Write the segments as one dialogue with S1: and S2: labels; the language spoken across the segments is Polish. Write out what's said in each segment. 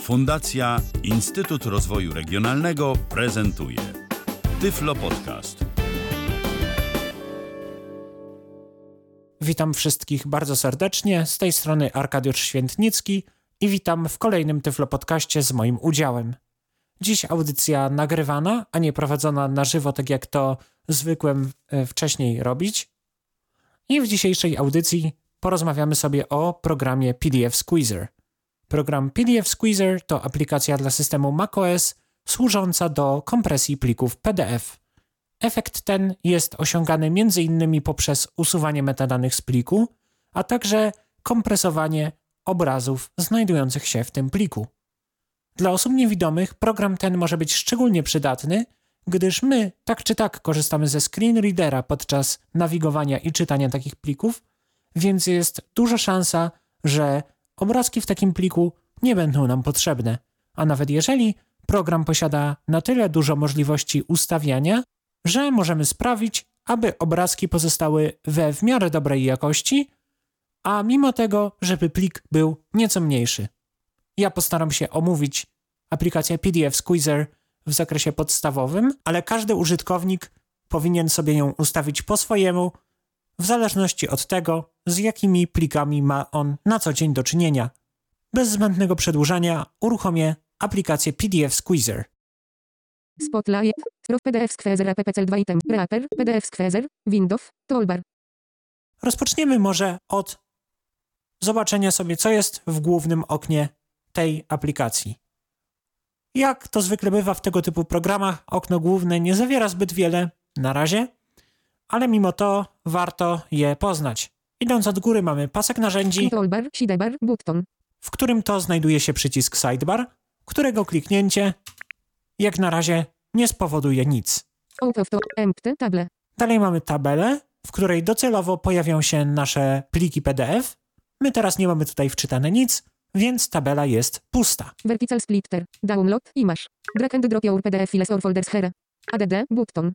S1: Fundacja Instytut Rozwoju Regionalnego prezentuje Tyflo Podcast.
S2: Witam wszystkich bardzo serdecznie, z tej strony Arkadiusz Świętnicki i witam w kolejnym Tyflo Podcaście z moim udziałem. Dziś audycja nagrywana, a nie prowadzona na żywo, tak jak to zwykłem e, wcześniej robić. I w dzisiejszej audycji porozmawiamy sobie o programie PDF Squeezer. Program PDF Squeezer to aplikacja dla systemu macOS służąca do kompresji plików PDF. Efekt ten jest osiągany m.in. poprzez usuwanie metadanych z pliku, a także kompresowanie obrazów znajdujących się w tym pliku. Dla osób niewidomych program ten może być szczególnie przydatny, gdyż my tak czy tak korzystamy ze screenreadera podczas nawigowania i czytania takich plików, więc jest duża szansa, że obrazki w takim pliku nie będą nam potrzebne. A nawet jeżeli program posiada na tyle dużo możliwości ustawiania, że możemy sprawić, aby obrazki pozostały we w miarę dobrej jakości, a mimo tego, żeby plik był nieco mniejszy. Ja postaram się omówić aplikację PDF Squeezer w zakresie podstawowym, ale każdy użytkownik powinien sobie ją ustawić po swojemu, w zależności od tego, z jakimi plikami ma on na co dzień do czynienia. Bez zbędnego przedłużania uruchomię aplikację PDF Squeezer.
S3: Spotlight, Row PDF Squeezer APPCL 2 item, Wrapper, PDF Squeezer, Windows, Toolbar,
S2: Rozpoczniemy może od zobaczenia sobie, co jest w głównym oknie tej aplikacji. Jak to zwykle bywa w tego typu programach, okno główne nie zawiera zbyt wiele na razie, ale mimo to warto je poznać. Idąc od góry mamy pasek narzędzi,
S3: Toolbar, Sidebar, Button,
S2: w którym to znajduje się przycisk sidebar, którego kliknięcie jak na razie nie spowoduje nic.
S3: Out of to, Empty, Table,
S2: Dalej mamy tabelę, w której docelowo pojawią się nasze pliki PDF. My teraz nie mamy tutaj wczytane nic, więc tabela jest pusta.
S3: Vertical Splitter, Download, Image, Drag and Drop Your PDF Files or Folders Here, ADD, Button,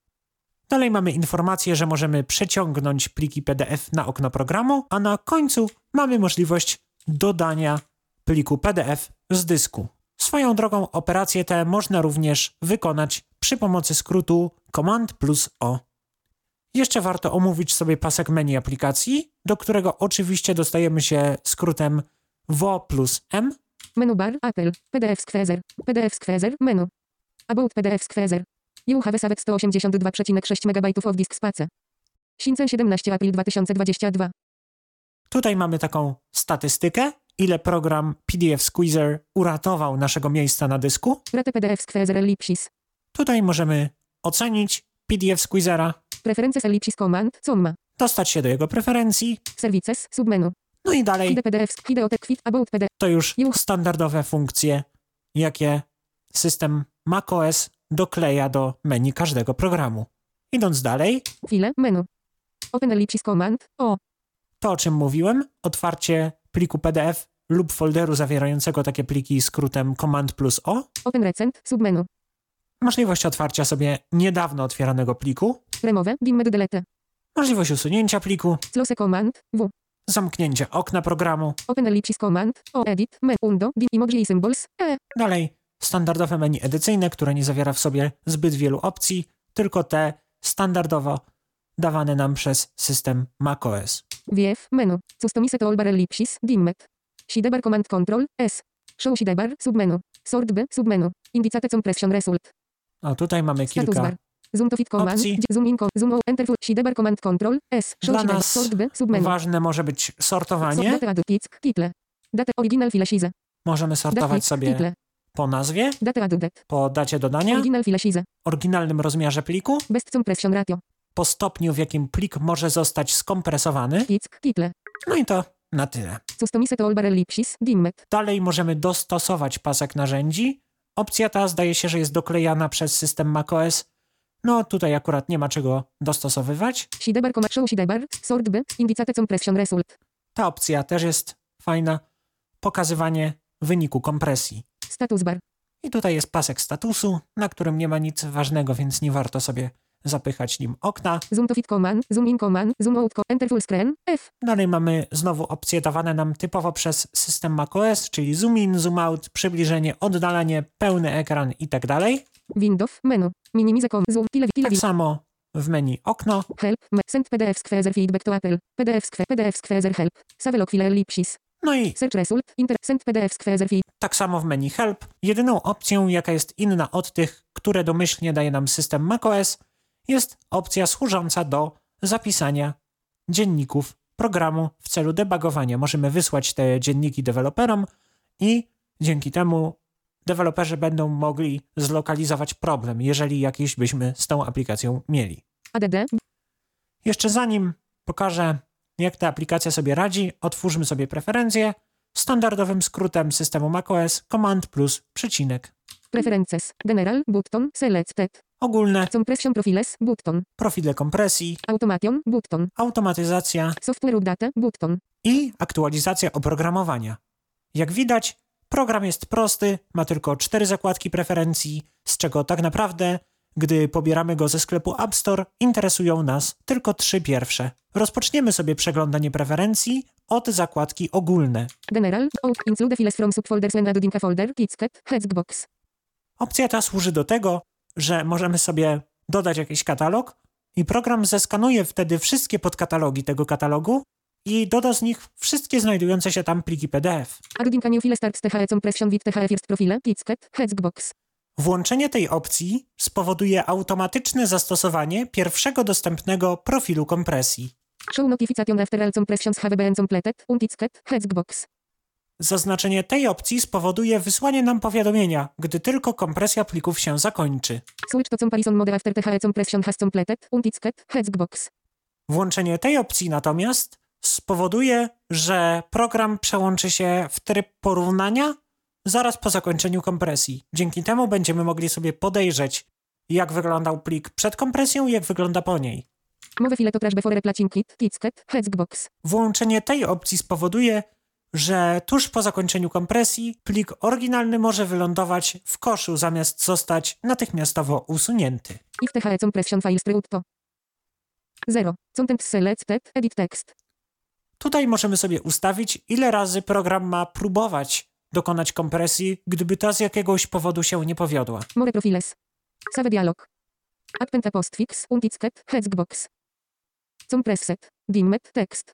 S2: Dalej mamy informację, że możemy przeciągnąć pliki PDF na okno programu, a na końcu mamy możliwość dodania pliku PDF z dysku. Swoją drogą operacje te można również wykonać przy pomocy skrótu Command plus O. Jeszcze warto omówić sobie pasek menu aplikacji, do którego oczywiście dostajemy się skrótem WO plus M.
S3: Menu Bar, Apple, PDF Squeezer, PDF Squeezer, Menu, About PDF Squeezer, You have saved 182,6 MB of disk space. Since 17 April 2022.
S2: Tutaj mamy taką statystykę, ile program PDF Squeezer uratował naszego miejsca na dysku.
S3: Rate PDF Squeezer Ellipsis.
S2: Tutaj możemy ocenić PDF Squeezera,
S3: Preferences Ellipsis Command, Comma.
S2: dostać się do jego preferencji,
S3: Services, submenu.
S2: no i dalej
S3: Ide PDF, ide otek, quit, about PDF.
S2: to już
S3: Juch.
S2: standardowe funkcje, jakie system macOS dokleja do menu każdego programu. Idąc dalej,
S3: File, menu. Open ellipsis command, o.
S2: to o czym mówiłem, otwarcie pliku PDF lub folderu zawierającego takie pliki skrótem Command plus O,
S3: Open recent, submenu.
S2: możliwość otwarcia sobie niedawno otwieranego pliku,
S3: Remove, dimmed delete.
S2: możliwość usunięcia pliku,
S3: Close command, w.
S2: zamknięcie okna programu,
S3: Open ellipsis command, o. Edit, menu, undo, dim, emoji i symbols, e.
S2: Dalej standardowe menu edycyjne, które nie zawiera w sobie zbyt wielu opcji, tylko te standardowo dawane nam przez system macOS.
S3: VF, menu. Customize toolbar ellipsis, dimmed. Sidebar command control, s. Show sidebar, submenu. Sort b, submenu. Indicate compression result.
S2: No tutaj mamy
S3: Status
S2: kilka.
S3: bar. Zoom to fit command,
S2: Opcji.
S3: dzie- zoom in, com- zoom out, enter, full, sidebar command control, s. Show
S2: Dla
S3: sidebar,
S2: nas
S3: sort b, submenu.
S2: Ważne może być sortowanie.
S3: Data add, kick, kitle. Data original file size.
S2: Możemy sortować sobie
S3: Kitle.
S2: po nazwie,
S3: Data added.
S2: po dacie dodania,
S3: Original file size.
S2: oryginalnym rozmiarze pliku,
S3: Best compression ratio.
S2: po stopniu, w jakim plik może zostać skompresowany.
S3: Kick, kitle.
S2: No i to na tyle.
S3: Customize toolbar ellipsis, dimmed.
S2: Dalej możemy dostosować pasek narzędzi. Opcja ta zdaje się, że jest doklejana przez system macOS. No tutaj akurat nie ma czego dostosowywać.
S3: Sidebar, comma, show sidebar, sort by, indicate compression result.
S2: Ta opcja też jest fajna. Pokazywanie wyniku kompresji.
S3: Status bar.
S2: I tutaj jest pasek statusu, na którym nie ma nic ważnego, więc nie warto sobie zapychać nim okna.
S3: Zoom to fit command, zoom in command, zoom out command, enter full screen, F.
S2: Dalej mamy znowu opcje dawane nam typowo przez system macOS, czyli zoom in, zoom out, przybliżenie, oddalenie, pełny ekran i tak dalej.
S3: Windows, menu, minimize com, zoom, tyle, tyle,
S2: Tak samo w menu okno.
S3: help, me, send PDF squeezer feedback to Apple, PDF squeezer, PDF squeezer help, Savelok file ellipsis,
S2: No i
S3: search result, inter, send PDF squeezer feed,
S2: tak samo w menu help. Jedyną opcją, jaka jest inna od tych, które domyślnie daje nam system macOS, jest opcja służąca do zapisania dzienników programu w celu debugowania. Możemy wysłać te dzienniki deweloperom i dzięki temu deweloperzy będą mogli zlokalizować problem, jeżeli jakiś byśmy z tą aplikacją mieli.
S3: add,
S2: Jeszcze zanim pokażę, jak ta aplikacja sobie radzi, otwórzmy sobie preferencje. Standardowym skrótem systemu macOS Command plus przecinek.
S3: preferences, general, button, selected,
S2: Ogólne,
S3: compression profiles, button,
S2: profile kompresji,
S3: automation, button,
S2: automatyzacja
S3: software update, button,
S2: i aktualizacja oprogramowania. Jak widać, program jest prosty, ma tylko cztery zakładki preferencji, z czego tak naprawdę, gdy pobieramy go ze sklepu App Store, interesują nas tylko trzy pierwsze. Rozpoczniemy sobie przeglądanie preferencji od zakładki ogólne.
S3: general, out, include files from subfolders and adding a folder, kitsket, hexbox,
S2: Opcja ta służy do tego, że możemy sobie dodać jakiś katalog i program zeskanuje wtedy wszystkie podkatalogi tego katalogu i doda z nich wszystkie znajdujące się tam pliki PDF.
S3: adding a new file starts THE compression with THE first profile, kitsket, hexbox,
S2: Włączenie tej opcji spowoduje automatyczne zastosowanie pierwszego dostępnego profilu kompresji.
S3: show notification after all compressions have been completed, untitsket, hexbox,
S2: Zaznaczenie tej opcji spowoduje wysłanie nam powiadomienia, gdy tylko kompresja plików się zakończy.
S3: switch to comparison mode after THE compression has completed, untitsket, hexbox.
S2: Włączenie tej opcji natomiast spowoduje, że program przełączy się w tryb porównania zaraz po zakończeniu kompresji. Dzięki temu będziemy mogli sobie podejrzeć, jak wyglądał plik przed kompresją i jak wygląda po niej.
S3: Move file to trash before replacing it, kitsket, hexbox.
S2: Włączenie tej opcji spowoduje, że tuż po zakończeniu kompresji plik oryginalny może wylądować w koszu zamiast zostać natychmiastowo usunięty.
S3: If THE compression files trud to. 0. Content selected, edit text.
S2: Tutaj możemy sobie ustawić, ile razy program ma próbować dokonać kompresji, gdyby ta z jakiegoś powodu się nie powiodła.
S3: More profiles. Save dialog. Append postfix, untitsket, hexbox. Compresset, dimmed, text.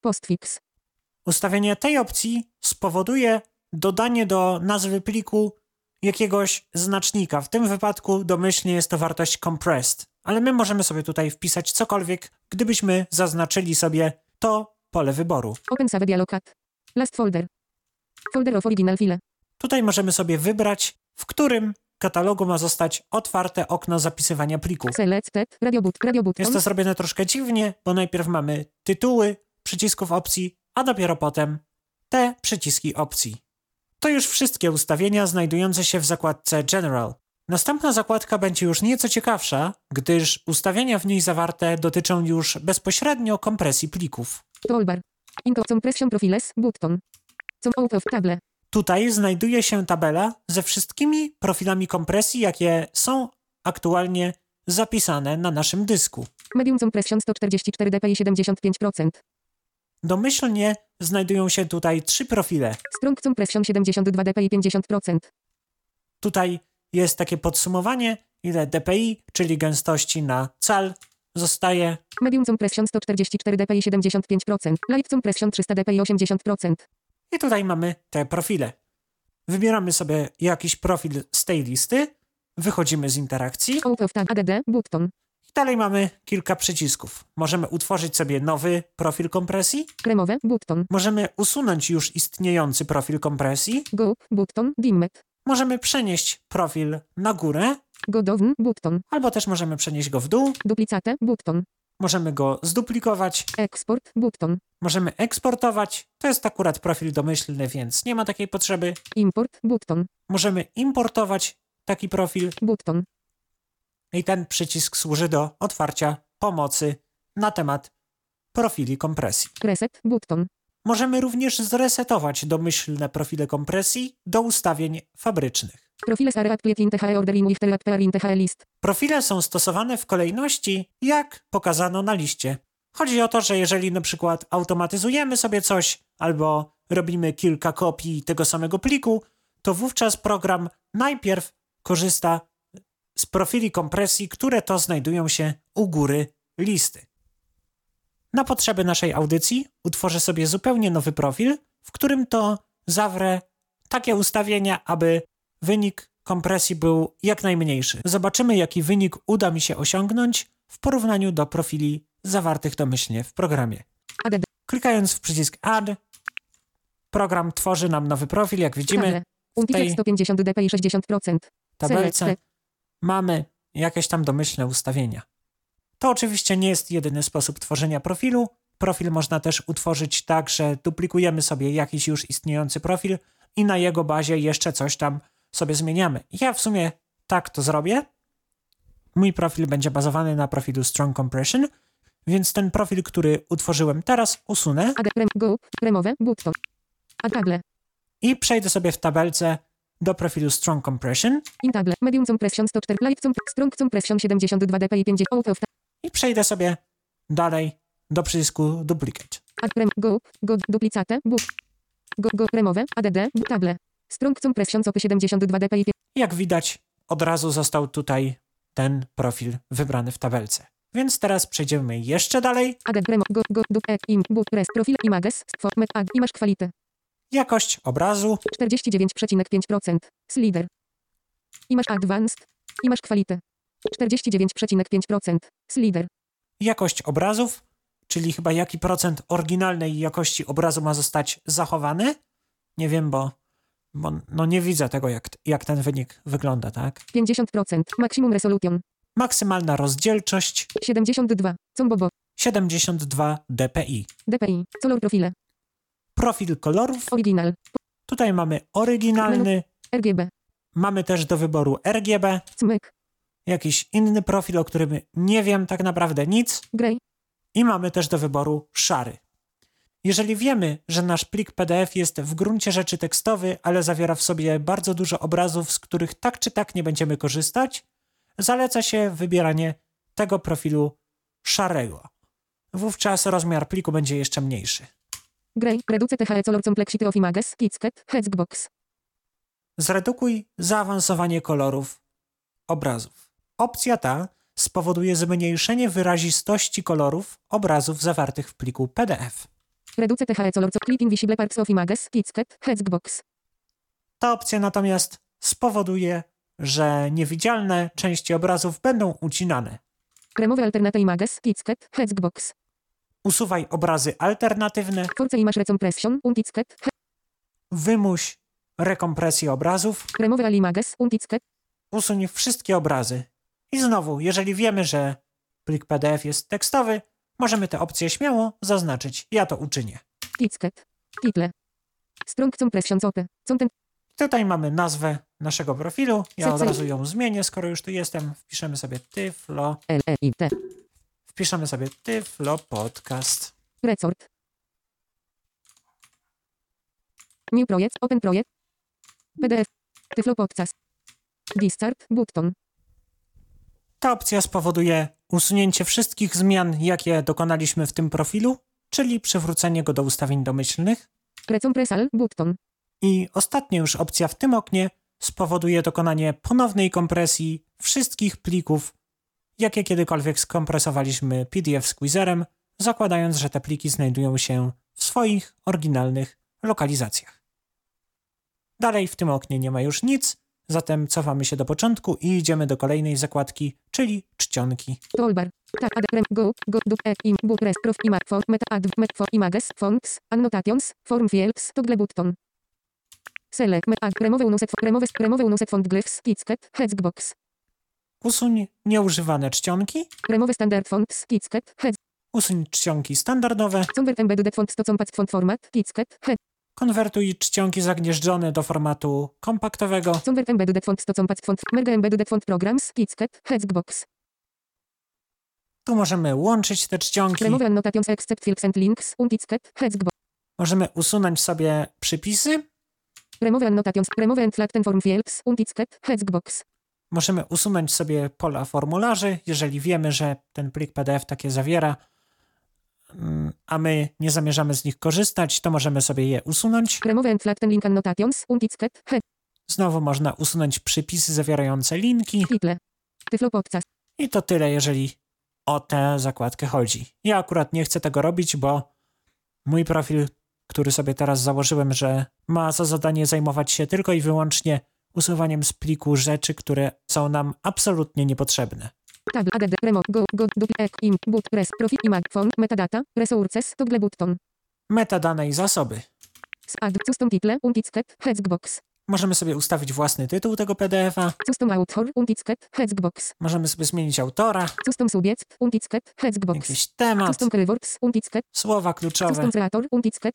S3: Postfix.
S2: Ustawienie tej opcji spowoduje dodanie do nazwy pliku jakiegoś znacznika. W tym wypadku domyślnie jest to wartość compressed, ale my możemy sobie tutaj wpisać cokolwiek, gdybyśmy zaznaczyli sobie to pole wyboru.
S3: Open save dialog at. Last folder. Folder of original file.
S2: Tutaj możemy sobie wybrać, w którym katalogu ma zostać otwarte okno zapisywania pliku.
S3: Selected, radio boot, radio boot.
S2: Jest to zrobione troszkę dziwnie, bo najpierw mamy tytuły przycisków opcji, a dopiero potem te przyciski opcji. To już wszystkie ustawienia znajdujące się w zakładce General. Następna zakładka będzie już nieco ciekawsza, gdyż ustawienia w niej zawarte dotyczą już bezpośrednio kompresji plików.
S3: Toolbar. Into compression profiles, button. Some out of table.
S2: Tutaj znajduje się tabela ze wszystkimi profilami kompresji, jakie są aktualnie zapisane na naszym dysku.
S3: Medium compression 144 dpi 75%.
S2: Domyślnie znajdują się tutaj trzy profile –
S3: Strong compression 72 dpi 50%.
S2: Tutaj jest takie podsumowanie, ile DPI, czyli gęstości na cal, zostaje.
S3: Medium compression 144 dpi 75%. Light compression 300 dpi 80%.
S2: I tutaj mamy te profile. Wybieramy sobie jakiś profil z tej listy, wychodzimy z interakcji
S3: Out of tab ADD, button.
S2: i dalej mamy kilka przycisków. Możemy utworzyć sobie nowy profil kompresji,
S3: Kremowe, button.
S2: możemy usunąć już istniejący profil kompresji,
S3: Goop, button, dimmed.
S2: możemy przenieść profil na górę,
S3: Godown, button.
S2: albo też możemy przenieść go w dół,
S3: Duplicate, button.
S2: możemy go zduplikować,
S3: Export, button.
S2: Możemy eksportować. To jest akurat profil domyślny, więc nie ma takiej potrzeby.
S3: Import, button.
S2: Możemy importować taki profil
S3: Button.
S2: i ten przycisk służy do otwarcia pomocy na temat profili kompresji.
S3: Reset, button.
S2: Możemy również zresetować domyślne profile kompresji do ustawień fabrycznych.
S3: Profiles are applied in THE order in with the appear in THE list.
S2: Profile są stosowane w kolejności, jak pokazano na liście. Chodzi o to, że jeżeli na przykład automatyzujemy sobie coś albo robimy kilka kopii tego samego pliku, to wówczas program najpierw korzysta z profili kompresji, które to znajdują się u góry listy. Na potrzeby naszej audycji utworzę sobie zupełnie nowy profil, w którym to zawrę takie ustawienia, aby wynik kompresji był jak najmniejszy. Zobaczymy, jaki wynik uda mi się osiągnąć w porównaniu do profili zawartych domyślnie w programie.
S3: Add.
S2: Klikając w przycisk Add, program tworzy nam nowy profil. Jak widzimy
S3: Table. Untitled 150 dpi 60%.
S2: w tabelce,
S3: Select.
S2: mamy jakieś tam domyślne ustawienia. To oczywiście nie jest jedyny sposób tworzenia profilu. Profil można też utworzyć tak, że duplikujemy sobie jakiś już istniejący profil i na jego bazie jeszcze coś tam sobie zmieniamy. Ja w sumie tak to zrobię. Mój profil będzie bazowany na profilu Strong Compression, więc ten profil, który utworzyłem teraz, usunę
S3: Add. Rem. Go. Remowe. Button. Add table.
S2: i przejdę sobie w tabelce do profilu Strong Compression
S3: In table. Medium compression 104. Light comp- strong compression 72 dpi 50. Out of
S2: i przejdę sobie dalej do przycisku Duplicate.
S3: Add rem, go, go, duplicate, bu, go, go, remowe, add, bu, table. Strong compression copy 72 dpi,
S2: Jak widać, od razu został tutaj ten profil wybrany w tabelce. Więc teraz przejdziemy jeszcze dalej.
S3: add, remo, go, go, dup, e, im, bu, res, profil, images, format, add, image quality,
S2: Jakość obrazu,
S3: 49,5%, slider. Image advanced, image quality, 49,5%, slider,
S2: jakość obrazów, czyli chyba jaki procent oryginalnej jakości obrazu ma zostać zachowany. Nie wiem, bo, bo no nie widzę tego, jak, jak ten wynik wygląda, tak?
S3: 50%, maximum resolution,
S2: Maksymalna rozdzielczość
S3: 72, combobo,
S2: 72 dpi.
S3: dpi, color profile,
S2: Profil kolorów,
S3: original,
S2: tutaj mamy oryginalny,
S3: RGB,
S2: mamy też do wyboru RGB,
S3: cmyk,
S2: jakiś inny profil, o którym nie wiem tak naprawdę nic
S3: grey,
S2: i mamy też do wyboru szary. Jeżeli wiemy, że nasz plik PDF jest w gruncie rzeczy tekstowy, ale zawiera w sobie bardzo dużo obrazów, z których tak czy tak nie będziemy korzystać, zaleca się wybieranie tego profilu szarego. Wówczas rozmiar pliku będzie jeszcze mniejszy.
S3: grey, reduce THE color complexity of images, kitsket, hexbox.
S2: Zredukuj zaawansowanie kolorów obrazów. Opcja ta spowoduje zmniejszenie wyrazistości kolorów obrazów zawartych w pliku PDF.
S3: Reduce THE color co clipping visible parts of images, kitsket, hexbox.
S2: Ta opcja natomiast spowoduje, że niewidzialne części obrazów będą ucinane.
S3: Remove alternate images, kitsket, hexbox.
S2: Usuwaj obrazy alternatywne,
S3: Force image recompression, untitsket, he-
S2: wymuś rekompresję obrazów,
S3: remove all images, untitsket,
S2: usuń wszystkie obrazy. I znowu, jeżeli wiemy, że plik PDF jest tekstowy, możemy te opcje śmiało zaznaczyć. Ja to uczynię.
S3: kitsket. Title. Strong compression copy. Content,
S2: Tutaj mamy nazwę naszego profilu. Ja od
S3: Cycy-
S2: razu ją zmienię, skoro już tu jestem. Wpiszemy sobie Tyflo.
S3: L, E, I, T.
S2: Wpiszemy sobie Tyflo Podcast.
S3: Resort. New project, open project. PDF. Tyflo podcast. Discard, button.
S2: Ta opcja spowoduje usunięcie wszystkich zmian, jakie dokonaliśmy w tym profilu, czyli przywrócenie go do ustawień domyślnych.
S3: Recompressal, button.
S2: I ostatnia już opcja w tym oknie spowoduje dokonanie ponownej kompresji wszystkich plików, jakie kiedykolwiek skompresowaliśmy PDF Squeezerem, zakładając, że te pliki znajdują się w swoich oryginalnych lokalizacjach. Dalej w tym oknie nie ma już nic, zatem cofamy się do początku i idziemy do kolejnej zakładki, czyli czcionki.
S3: Toolbar. Tab add rem go go dup e im book rest prof ima for meta add met for images fonts annotations form fields toggle button. Select met add remove unuset remove remove unuset font glyphs kitsket hexbox.
S2: Usuń nieużywane czcionki,
S3: Remove standard fonts kitsket hex
S2: usuń czcionki standardowe,
S3: convert embedded font to compat font format kitsket hex
S2: konwertuj czcionki zagnieżdżone do formatu kompaktowego,
S3: convert embedded font to compat font merge embedded font programs kitsket hexbox.
S2: Tu możemy łączyć te czcionki,
S3: Remove annotations except fields and links untitsket hexbox.
S2: możemy usunąć sobie przypisy
S3: Remove annotations. Remove and flatten form fields. Untitled. Hexbox.
S2: Możemy usunąć sobie pola formularzy, jeżeli wiemy, że ten plik PDF takie zawiera, mm, a my nie zamierzamy z nich korzystać, to możemy sobie je usunąć.
S3: Remove and flatten link annotations. Untitled. He.
S2: Znowu można usunąć przypisy zawierające linki
S3: Title. Tyflo podcast.
S2: i to tyle, jeżeli o tę zakładkę chodzi. Ja akurat nie chcę tego robić, bo mój profil, który sobie teraz założyłem, że ma za zadanie zajmować się tylko i wyłącznie usuwaniem z pliku rzeczy, które są nam absolutnie niepotrzebne.
S3: Tab. Add. Remo. Go. Go. Dub. E. Im. Boot. Res. Profil. Imag. Form. Metadata. Resources. Toggle button.
S2: Metadane i zasoby.
S3: Add. Custom title. Untitled. Hexbox.
S2: Możemy sobie ustawić własny tytuł tego PDF-a,
S3: Custom author. Untitled. Hexbox.
S2: możemy sobie zmienić autora,
S3: Custom subjekt. Untitled. Hexbox.
S2: jakiś temat,
S3: Custom keywords. Untitled.
S2: słowa kluczowe,
S3: Custom creator. Untitled.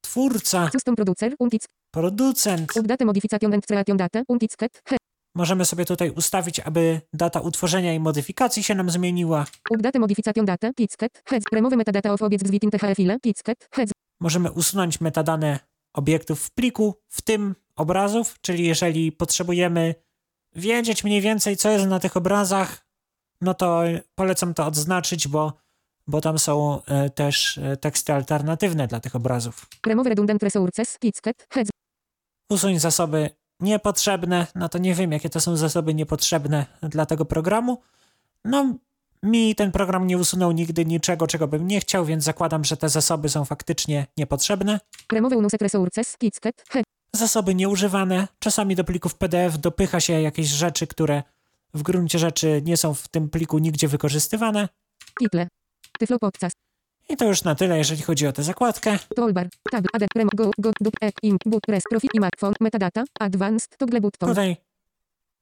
S2: twórca,
S3: Custom producer. Untitled.
S2: producent.
S3: Update modification and creation data, untitled, he,
S2: Możemy sobie tutaj ustawić, aby data utworzenia i modyfikacji się nam zmieniła.
S3: update modification data, ticket, heads, remove metadata of obiect within THE file, ticket, heads,
S2: Możemy usunąć metadane obiektów w pliku, w tym obrazów, czyli jeżeli potrzebujemy wiedzieć mniej więcej, co jest na tych obrazach, no to polecam to odznaczyć, bo, bo tam są e, też e, teksty alternatywne dla tych obrazów.
S3: remove redundant resources, ticket, heads,
S2: usuń zasoby niepotrzebne. No to nie wiem, jakie to są zasoby niepotrzebne dla tego programu. No, mi ten program nie usunął nigdy niczego, czego bym nie chciał, więc zakładam, że te zasoby są faktycznie niepotrzebne.
S3: remove unused resources, ticket, head,
S2: Zasoby nieużywane. Czasami do plików PDF dopycha się jakieś rzeczy, które w gruncie rzeczy nie są w tym pliku nigdzie wykorzystywane.
S3: title, tyflo podcast,
S2: I to już na tyle, jeżeli chodzi o tę zakładkę.
S3: toolbar, tab, add, remo, go, go, dup, e, im, boot, res, profit, imag, phone, metadata, advanced, toggle button,
S2: Tutaj,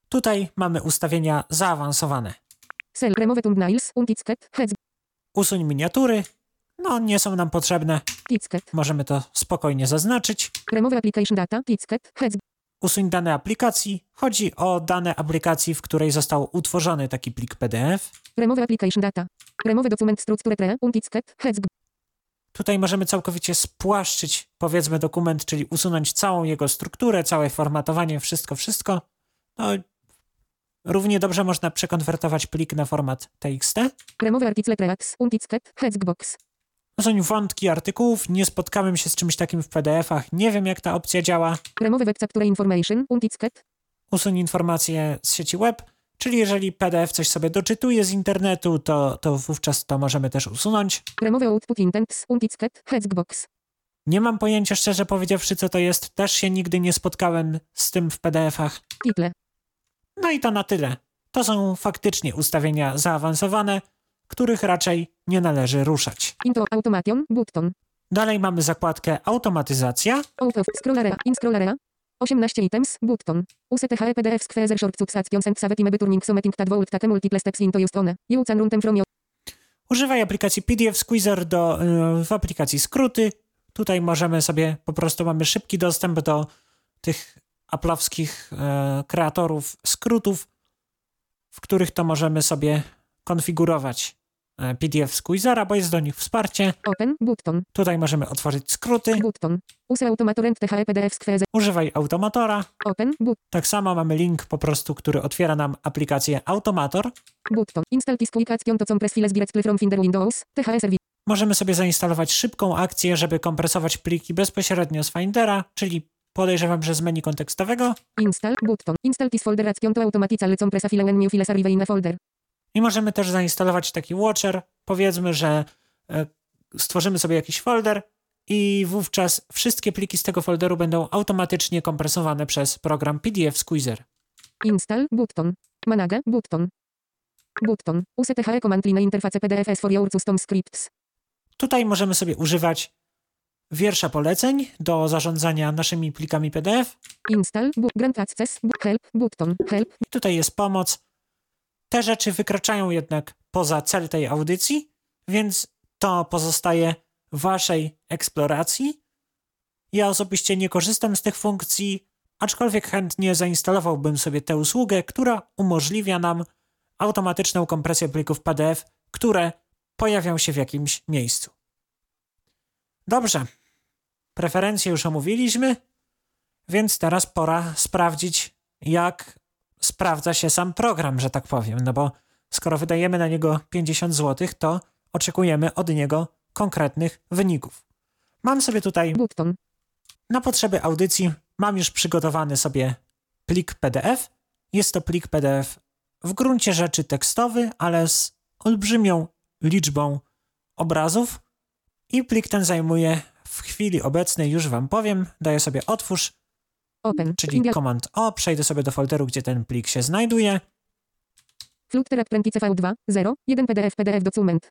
S2: tutaj mamy ustawienia zaawansowane.
S3: sell, remove thumbnails, unticket, heads,
S2: Usuń miniatury. No, nie są nam potrzebne.
S3: ticket,
S2: Możemy to spokojnie zaznaczyć.
S3: remove application data, ticket, heads,
S2: Usuń dane aplikacji. Chodzi o dane aplikacji, w której został utworzony taki plik PDF.
S3: remove application data, remove document structure tree, unticket, heads,
S2: Tutaj możemy całkowicie spłaszczyć, powiedzmy, dokument, czyli usunąć całą jego strukturę, całe formatowanie, wszystko, wszystko. No, równie dobrze można przekonwertować plik na format TXT.
S3: Remove article tracks, untitled, hexbox.
S2: Usuń No, wątki artykułów. Nie spotkałem się z czymś takim w PDF-ach. Nie wiem, jak ta opcja działa.
S3: Remove web capture information, untitled,
S2: usuń informacje z sieci web, czyli jeżeli PDF coś sobie doczytuje z internetu, to, to wówczas to możemy też usunąć.
S3: remove output intents, untitled, hexbox.
S2: Nie mam pojęcia, szczerze powiedziawszy, co to jest, też się nigdy nie spotkałem z tym w PDF-ach.
S3: Title,
S2: No i to na tyle. To są faktycznie ustawienia zaawansowane, których raczej nie należy ruszać.
S3: into automation, button,
S2: Dalej mamy zakładkę automatyzacja.
S3: out of, scroll area, in scroll area. 18 items, button. E Use THE PDF squeezer short subsactions and save time turning something that volt take multiple steps into used one. You can run them from your
S2: Używaj aplikacji PDF Squeezer do, y, w aplikacji skróty. Tutaj możemy sobie, po prostu mamy szybki dostęp do tych aplowskich e, kreatorów skrótów, w których to możemy sobie konfigurować e, PDF Squeezera, bo jest do nich wsparcie.
S3: open, button,
S2: Tutaj możemy otworzyć skróty.
S3: button. Use automator and THE PDF squeezer,
S2: Używaj automatora.
S3: open, but,
S2: Tak samo mamy link po prostu, który otwiera nam aplikację Automator.
S3: button. Install this quick action to some press files directly from Finder Windows, E THE service.
S2: Możemy sobie zainstalować szybką akcję, żeby kompresować pliki bezpośrednio z Findera, czyli podejrzewam, że z menu kontekstowego.
S3: Install button. Install this folder action to automatically compress a file when new files arrive in a folder.
S2: I możemy też zainstalować taki watcher. Powiedzmy, że e, stworzymy sobie jakiś folder i wówczas wszystkie pliki z tego folderu będą automatycznie kompresowane przez program PDF Squeezer.
S3: Install button. Manage button. Button. Use THE command line interface PDFs for your custom scripts.
S2: Tutaj możemy sobie używać wiersza poleceń do zarządzania naszymi plikami PDF.
S3: Install bu- grant access bu- help button help
S2: I tutaj jest pomoc. Te rzeczy wykraczają jednak poza cel tej audycji, więc to pozostaje waszej eksploracji. Ja osobiście nie korzystam z tych funkcji, aczkolwiek chętnie zainstalowałbym sobie tę usługę, która umożliwia nam automatyczną kompresję plików PDF, które pojawią się w jakimś miejscu. Dobrze. Preferencje już omówiliśmy. Więc teraz pora sprawdzić, jak sprawdza się sam program, że tak powiem. No bo skoro wydajemy na niego 50 zł, to oczekujemy od niego konkretnych wyników. Mam sobie tutaj
S3: Button.
S2: na potrzeby audycji mam już przygotowany sobie plik PDF. Jest to plik PDF w gruncie rzeczy tekstowy, ale z olbrzymią liczbą obrazów. I plik ten zajmuje w chwili obecnej, już Wam powiem, daję sobie otwórz,
S3: Open.
S2: czyli
S3: India.
S2: Command O, przejdę sobie do folderu, gdzie ten plik się znajduje.
S3: Flutter Apprentice V2. 0. 1 PDF. PDF dokument.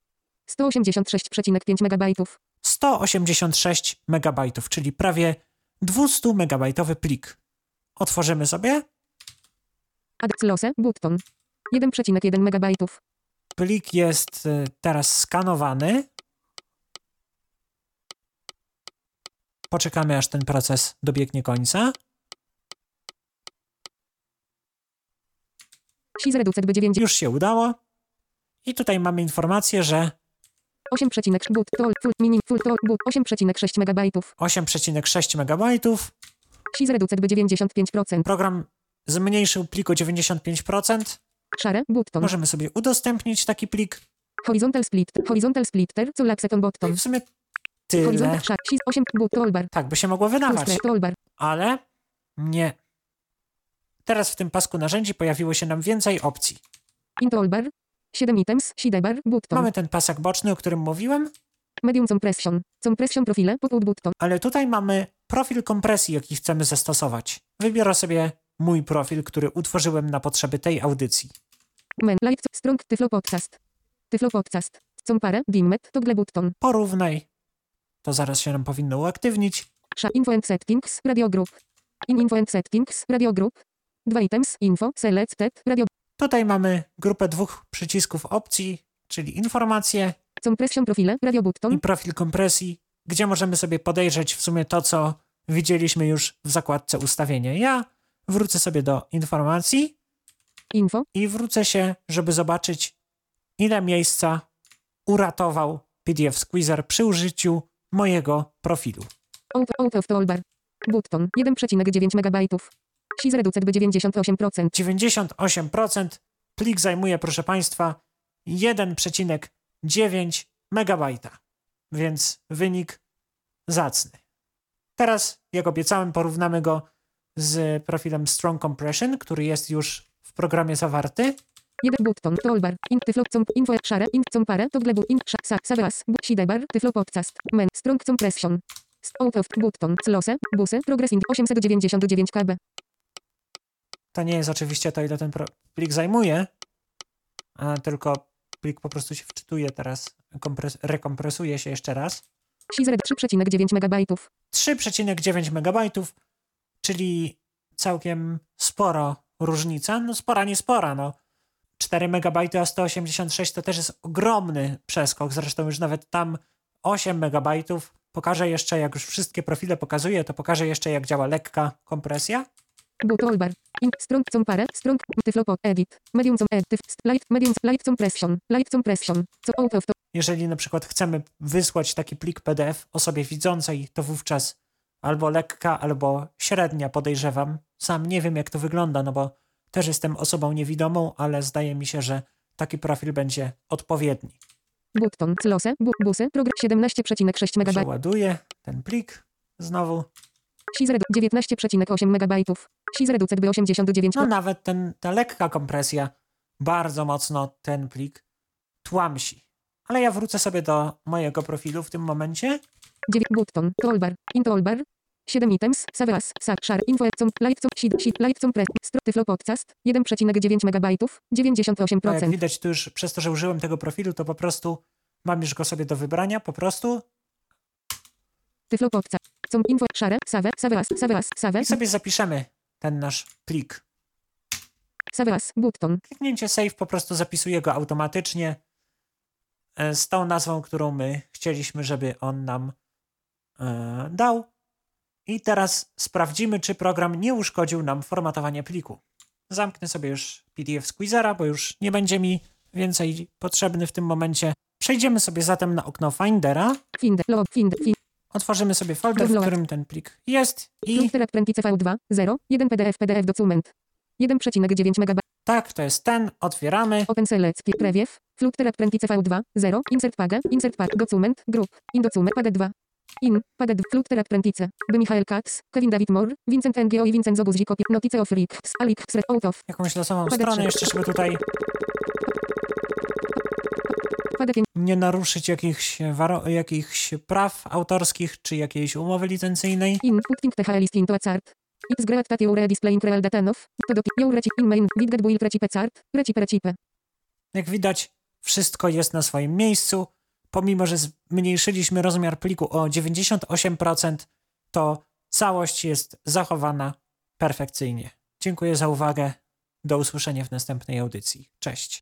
S3: 186,5 MB.
S2: 186 MB, czyli prawie 200 MB plik. Otworzymy sobie.
S3: Add lose. Button. 1,1 MB.
S2: Plik jest y, teraz skanowany. Poczekamy, aż ten proces dobiegnie końca.
S3: Siz reducet B9.
S2: Już się udało. I tutaj mamy informację, że
S3: 8, but. Tol. Full. Mini. Full. Tol. But. 8,6 MB.
S2: 8,6 MB.
S3: Siz reducet B95%.
S2: Program zmniejszył plik o 95%.
S3: Szare. Button.
S2: Możemy sobie udostępnić taki plik.
S3: Horizontal split. Horizontal splitter. Col on
S2: I
S3: button.
S2: w sumie
S3: Horizontal
S2: tyle.
S3: szare. Siz 8. But. Toolbar.
S2: Tak by się mogło wydawać.
S3: Lustre. Toolbar.
S2: ale nie. Teraz w tym pasku narzędzi pojawiło się nam więcej opcji.
S3: In toolbar. 7 items. Sidebar. Button.
S2: Mamy ten pasak boczny, o którym mówiłem,
S3: Medium compression. Compression profile. Pop-out button.
S2: ale tutaj mamy profil kompresji, jaki chcemy zastosować. Wybiorę sobie mój profil, który utworzyłem na potrzeby tej audycji.
S3: Men. Live. Strong. Tyflo podcast. Tyflo podcast. Compare. Dimmet. Toggle button.
S2: Porównaj. To zaraz się nam powinno uaktywnić.
S3: Sza. Info and settings. Radio group. In info and settings. Radio group. Dwa items. Info. Selected. Radio.
S2: Tutaj mamy grupę dwóch przycisków opcji, czyli informacje
S3: Compression profile. Radio
S2: i
S3: button.
S2: profil kompresji, gdzie możemy sobie podejrzeć w sumie to, co widzieliśmy już w zakładce ustawienia. Ja wrócę sobie do informacji.
S3: Info.
S2: i wrócę się, żeby zobaczyć, ile miejsca uratował PDF Squeezer przy użyciu mojego profilu.
S3: Out, out of toolbar. Button. 1,9 MB. Siz reducet by 98%.
S2: 98% plik zajmuje, proszę Państwa, 1,9 MB. Więc wynik zacny. Teraz, jak obiecałem, porównamy go z profilem Strong Compression, który jest już w programie zawarty.
S3: Jeden button. Toolbar. In tyflo. Comp. Info. Szare. In. Compare. Toggle but. In. Sza. Sa. Savas. Bu. Sidebar. Tyflo podcast. Men. Strong compression. St- Out of. Button. Close. Busy. Progress in. 899 kb.
S2: To nie jest oczywiście to, ile ten pro- plik zajmuje, a tylko plik po prostu się wczytuje teraz, kompres- rekompresuje się jeszcze raz.
S3: Sizred 3,9 MB.
S2: 3,9 MB, czyli całkiem sporo różnica. No spora, nie spora, no. 4 MB a 186 to też jest ogromny przeskok, zresztą już nawet tam 8 MB. Pokażę jeszcze, jak już wszystkie profile pokazuję, to pokażę jeszcze, jak działa lekka kompresja.
S3: Bu. Toolbar. In. Strong compare. Strong. Tyflo pod. Edit. Medium. Com. Edit. Light. Medium. Light compression. Light compression. Co. Out of. To.
S2: Jeżeli na przykład chcemy wysłać taki plik PDF osobie widzącej, to wówczas albo lekka, albo średnia podejrzewam. Sam nie wiem, jak to wygląda, no bo też jestem osobą niewidomą, ale zdaje mi się, że taki profil będzie odpowiedni.
S3: Button. Close. Bu. Busy. Progress 17,6 MB.
S2: Przeładuję ten plik znowu. No
S3: Sizred 19,8 MB. Sizred by 89
S2: No nawet ten, ta lekka kompresja bardzo mocno ten plik tłamsi. Ale ja wrócę sobie do mojego profilu w tym momencie.
S3: 9 button, toolbar, in toolbar, 7 items, savas, sa, share, info, com, live, com, seed, sheet, live, com, press, strotyflo, podcast, 1,9 megabajtów,
S2: No, jak
S3: 98%,
S2: widać, tu już przez to, że użyłem tego profilu, to po prostu mam już go sobie do wybrania, po prostu
S3: tyflo, podcast, com, info, share, save, savas, savas, save,
S2: i tak. sobie zapiszemy ten nasz plik.
S3: savas, button,
S2: Kliknięcie save po prostu zapisuje go automatycznie e, z tą nazwą, którą my chcieliśmy, żeby on nam e, dał. I teraz sprawdzimy, czy program nie uszkodził nam formatowania pliku. Zamknę sobie już PDF Squeezera, bo już nie będzie mi więcej potrzebny w tym momencie. Przejdziemy sobie zatem na okno Findera.
S3: find, log, find, find,
S2: Otworzymy sobie folder, w
S3: Download.
S2: którym ten plik jest i
S3: Literat prętlice V2, 0, 1 PDF, PDF dokument. 1,9 MB.
S2: tak, to jest ten, otwieramy.
S3: Open Select, pi- Preview, Flutterat prętlice V2, 0, Insert Paga, Insert Pag, Document, Group, Indocument, Pad 2. In, Pad 2, Flutterat prętlice, by Michael Katz, Kevin David Moore, Vincent NGO i Vincent Zoguz Zikopi, Notice of Leaks, Alik, Sred Out of,
S2: Jakąś losową
S3: Pad
S2: stronę
S3: trzy.
S2: jeszcze, żeby tutaj
S3: Pad 5,
S2: nie naruszyć jakichś, waro- jakichś praw autorskich czy jakiejś umowy licencyjnej.
S3: In, Putting THL is into a chart. It's great that you're displaying real data of, to do, your reci, in main, widget build recipe chart, recipe recipe.
S2: Jak widać, wszystko jest na swoim miejscu. Pomimo, że zmniejszyliśmy rozmiar pliku o 98%, to całość jest zachowana perfekcyjnie. Dziękuję za uwagę. Do usłyszenia w następnej audycji. Cześć.